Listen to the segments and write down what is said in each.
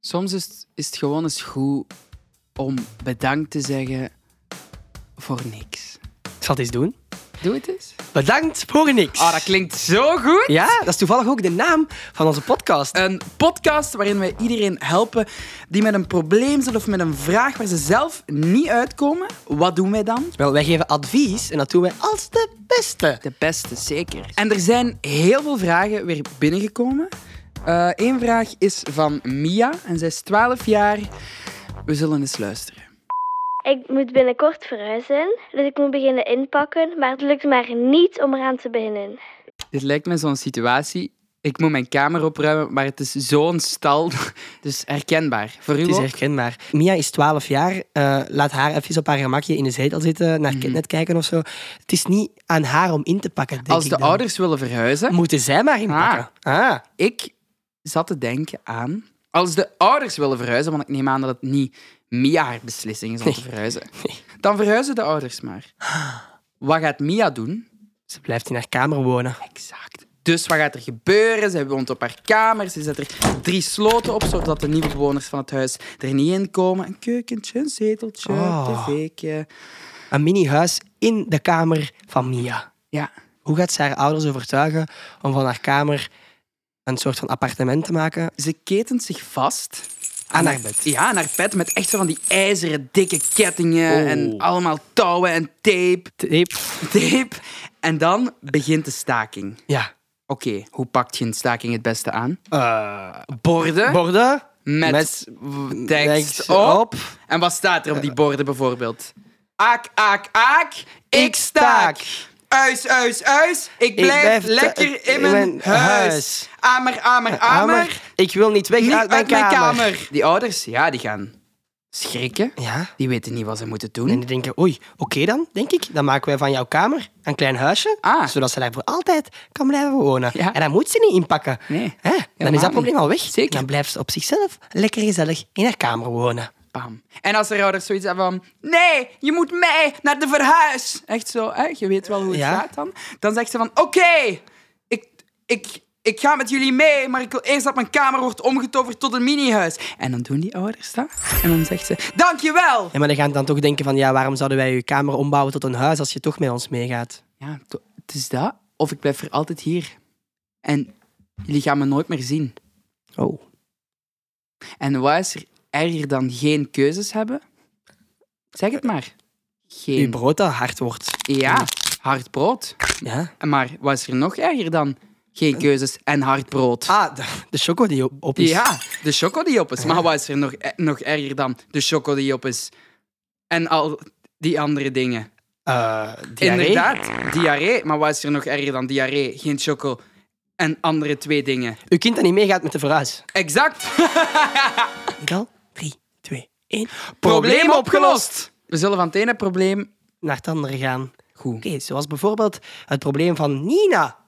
Soms is het, is het gewoon eens goed om bedankt te zeggen voor niks. Ik zal het eens doen. Doe het eens. Bedankt voor niks. Ah, dat klinkt zo goed. Ja, dat is toevallig ook de naam van onze podcast. Een podcast waarin wij iedereen helpen die met een probleem zit of met een vraag waar ze zelf niet uitkomen. Wat doen wij dan? Wel, wij geven advies en dat doen wij als de beste. De beste, zeker. En er zijn heel veel vragen weer binnengekomen. Eén vraag is van Mia en zij is 12 jaar. We zullen eens luisteren. Ik moet binnenkort verhuizen, dus ik moet beginnen inpakken, maar het lukt maar niet om eraan te beginnen. Dit lijkt me zo'n situatie. Ik moet mijn kamer opruimen, maar het is zo'n stal. Dus herkenbaar. Voor u Het is ook? herkenbaar. Mia is 12 jaar. eh, laat haar even op haar gemakje in de zetel zitten, naar Mhm. Kidnet kijken of zo. Het is niet aan haar om in te pakken, denk Als ik de dan. ouders willen verhuizen, Moeten zij maar inpakken. Ah. ik zat te denken aan... Als de ouders willen verhuizen, want ik neem aan dat het niet Mia haar beslissing is om te verhuizen, Nee. dan verhuizen de ouders maar. Wat gaat Mia doen? Ze blijft in haar kamer wonen. Exact. Dus wat gaat er gebeuren? Zij woont op haar kamer. Ze zet er drie sloten op, zodat de nieuwe bewoners van het huis er niet in komen. Een keukentje, een zeteltje, Oh. een tv'tje. Een mini-huis in de kamer van Mia. Ja. Hoe gaat ze haar ouders overtuigen om van haar kamer een soort van appartement te maken? Ze ketent zich vast. Aan haar bed. Ja, aan haar bed met echt zo van die ijzeren dikke kettingen Oh. en allemaal touwen en tape. Tape. Tape. En dan begint de staking. Ja. Oké, hoe pakt je een staking het beste aan? Eh, Borden borden. met, met w- tekst tekst op. op. En wat staat er op die borden bijvoorbeeld? Aak, aak, aak, ik staak. Uis, uis, uis, ik blijf, blijf te- lekker in mijn huis. huis. Amer, amer, amer. Ik wil niet weg Niet uit, mijn, kamer. Die ouders, ja, die gaan schrikken. Ja. Die weten niet wat ze moeten doen. En die denken, oei, oké dan, denk ik. Dan maken wij van jouw kamer een klein huisje. Ah. Zodat ze daar voor altijd kan blijven wonen. Ja. En dan moet ze niet inpakken. Nee, Hè? Dan helemaal is dat probleem niet. al weg. Zeker. Dan blijft ze op zichzelf lekker gezellig in haar kamer wonen. Bam. En als er ouders zoiets hebben van... Nee, je moet mee naar de verhuis. Echt zo, hè? je weet wel hoe het Ja. gaat dan. Dan zegt ze van... Oké, ik, ik, ik ga met jullie mee, maar ik wil eerst dat mijn kamer wordt omgetoverd tot een minihuis. En dan doen die ouders dat. En dan zegt ze... Dankjewel! En maar dan gaan ze dan toch denken van, ja, waarom zouden wij je kamer ombouwen tot een huis als je toch met ons meegaat? Ja, to- het is dat. Of ik blijf voor altijd hier. En jullie gaan me nooit meer zien. Oh. En wat is er erger dan geen keuzes hebben? Zeg het maar. Je Geen... brood dat hard wordt. Ja, hard brood. Ja. Maar wat is er nog erger dan geen keuzes en hard brood? Ah, de, de choco die op, op is. Ja, de choco die op is. Maar wat is er nog, dus- eh, nog erger dan de choco die op is? En al die andere dingen. Eh, diarree. Inderdaad, diarree. Maar wat is er nog erger dan diarree? Geen choco en andere twee dingen. Uw kind dat niet meegaat met de verhuis. Exact. Niet al? 3, 2, 1. Probleem opgelost. We zullen van het ene probleem... Naar het andere gaan. Oké, Goed. zoals bijvoorbeeld het probleem van Nina.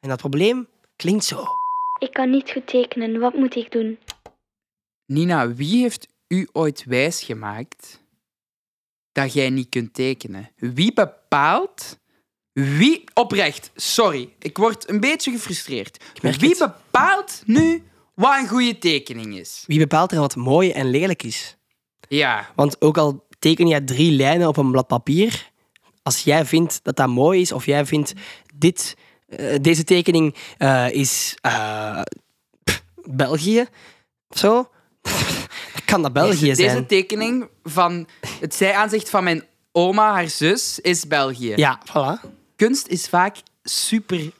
En dat probleem klinkt zo. Ik kan niet goed tekenen, wat moet ik doen? Nina, wie heeft u ooit wijsgemaakt dat jij niet kunt tekenen? Wie bepaalt? Wie oprecht? Sorry, ik word een beetje gefrustreerd. merk Wie het. bepaalt nu wat een goede tekening is? Wie bepaalt er wat mooi en lelijk is? Ja, Want ook al teken jij drie lijnen op een blad papier, als jij vindt dat dat mooi is, of jij vindt dit, eh, deze tekening eh, is eh, pff, België of zo, dan kan dat België deze zijn. tekening van het zijaanzicht van mijn oma, haar zus, is België. Ja, voilà. Kunst is vaak super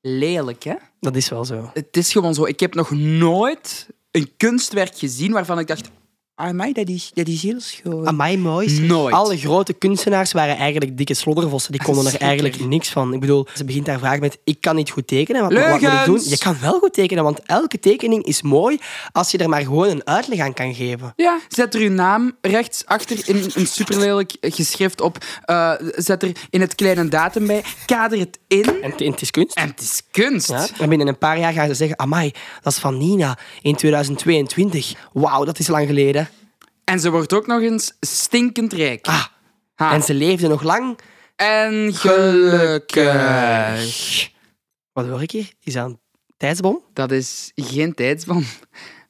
lelijk, hè? Dat is wel zo. het is gewoon zo. Ik heb nog nooit een kunstwerk gezien waarvan ik dacht... Amai, dat is, dat is heel schoon. Amai, mooi. Nooit. Ah, Alle grote kunstenaars waren eigenlijk dikke sloddervossen. Die konden er Zeker. eigenlijk niks van. Ik bedoel, ze begint haar vraag met... Ik kan niet goed tekenen, wat, wat moet ik doen? Leugens. Je kan wel goed tekenen, want elke tekening is mooi als je er maar gewoon een uitleg aan kan geven. Ja, zet er uw naam rechts achter in een superlelijk geschrift op. Eh, zet er in het kleine datum bij. Kader het in. En, het- en het is kunst. En het is kunst. Ja. En binnen een paar jaar gaan ze zeggen... Amai, dat is van Nina in 2022. Wauw, dat is lang geleden. En ze wordt ook nog eens stinkend rijk. Ah, Ha. En ze leefde nog lang. En gelukkig. Wat hoor ik hier? Is dat een tijdsbom? Dat is geen tijdsbom.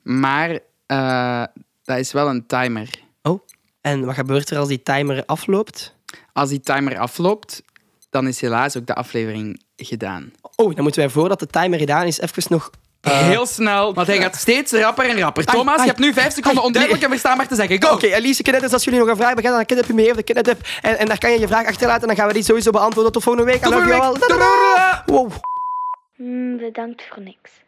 Maar eh, dat is wel een timer. Oh. En wat gebeurt er als die timer afloopt? Als die timer afloopt, dan is helaas ook de aflevering gedaan. Oh, dan moeten wij voordat de timer gedaan is, even nog. eh, Heel snel, want hij gaat steeds rapper en rapper. Ai, Thomas, ai, je hebt nu vijf seconden ai, onduidelijk en verstaanbaar te zeggen. Go! Oké, Elise, Kenneth, als jullie nog een vraag hebben, ga dan naar Kenneth mee of de Kenneth app. En, en daar kan je je vraag achterlaten en dan gaan we die sowieso beantwoorden. Tot volgende week. I Tot love volgende you week. all. Wow. Hmm, bedankt voor niks.